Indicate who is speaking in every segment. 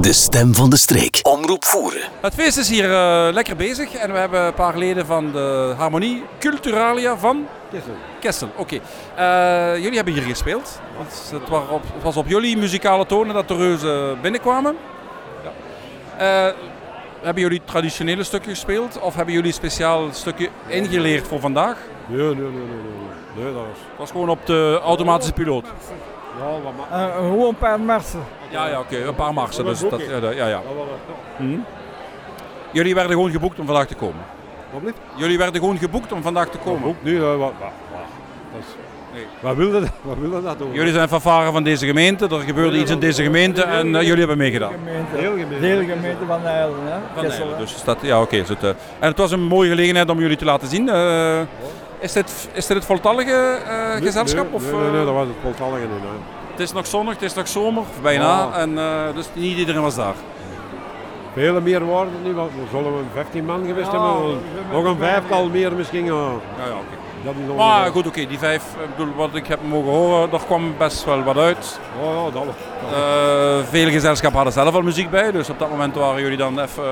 Speaker 1: De stem van de streek. Omroep voeren.
Speaker 2: Het feest is hier eh, lekker bezig en we hebben een paar leden van de Harmonie Culturalia van Kessel. Oké. Eh, jullie hebben hier gespeeld. Het, het was op, het was op jullie muzikale tonen dat de reuzen binnenkwamen. Eh, hebben jullie traditionele stukken gespeeld of hebben jullie speciaal stukje ingeleerd voor vandaag?
Speaker 3: Nee, nee, nee, nee, nee. Nee, dat is...
Speaker 2: Het was gewoon op de automatische piloot.
Speaker 3: Ja, wat maar...
Speaker 4: Eh, gewoon een paar marsen.
Speaker 2: Ja, ja, oké. Een paar marsen. Dus dat, ja, ja, ja.
Speaker 3: Ja, wat
Speaker 2: Jullie werden gewoon geboekt om vandaag te komen.
Speaker 3: Wat blijft?
Speaker 2: Jullie werden gewoon geboekt om vandaag te komen.
Speaker 3: Ook niet, hè, wat... wat, wat. Dat is...
Speaker 2: Nee.
Speaker 3: Wat wil dat, wat wil dat nou?
Speaker 2: Jullie zijn fanfaren van deze gemeente, er gebeurde iets in deze gemeente en eh, jullie hebben meegedaan.
Speaker 4: Gemeente.
Speaker 3: Heel gemeente.
Speaker 4: Heel gemeente van Nijlen. Hè? Kessel, hè.
Speaker 2: Dus is dat, ja, oké. is het, eh, en het was een mooie gelegenheid om jullie te laten zien. eh, is, dit, is dit het voltallige eh,
Speaker 3: Nee,
Speaker 2: gezelschap?
Speaker 3: nee,
Speaker 2: of,
Speaker 3: Nee, nee,
Speaker 2: eh,
Speaker 3: nee, dat was het voltallige niet, hè.
Speaker 2: Het is nog zonnig, het is nog zomer, of bijna.
Speaker 3: Ah.
Speaker 2: En, eh, dus niet iedereen was daar.
Speaker 3: Vele meer waren het niet, want we zullen een 15 man geweest
Speaker 4: Ja,
Speaker 3: hebben.
Speaker 4: we hebben
Speaker 3: Nog een
Speaker 4: wel
Speaker 3: vijftal meer misschien. ja.
Speaker 2: Ja, ja, oké.
Speaker 3: Dat is nog
Speaker 2: Maar
Speaker 3: niet-
Speaker 2: goed, oké, die vijf, eh, ik bedoel, wat ik heb mogen horen, daar kwam best wel wat uit.
Speaker 3: Oh, ja, dat was...
Speaker 2: Eh, veel gezelschappen hadden zelf al muziek bij, dus op dat moment waren jullie dan even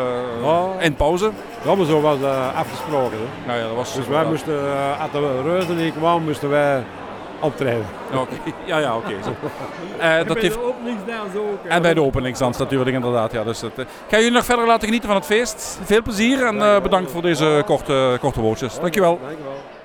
Speaker 2: eh,
Speaker 3: Ah.
Speaker 2: in pauze.
Speaker 3: Ja, maar zo was eh, afgesproken. Hè.
Speaker 2: Nou ja, dat was
Speaker 3: Dus wij moesten, eh, als de reuzen niet kwamen, moesten wij optreden.
Speaker 2: Ja, oké. Ja, ja, oké. zo. Eh, dat heeft...
Speaker 4: openingsdans ook. hè.
Speaker 2: En bij de openingsdans natuurlijk, inderdaad. Ja, dus dat, eh. Ik ga jullie nog verder laten genieten van het feest. Veel plezier en eh, bedankt voor deze korte, korte woordjes. Dankjewel.
Speaker 3: Dankjewel.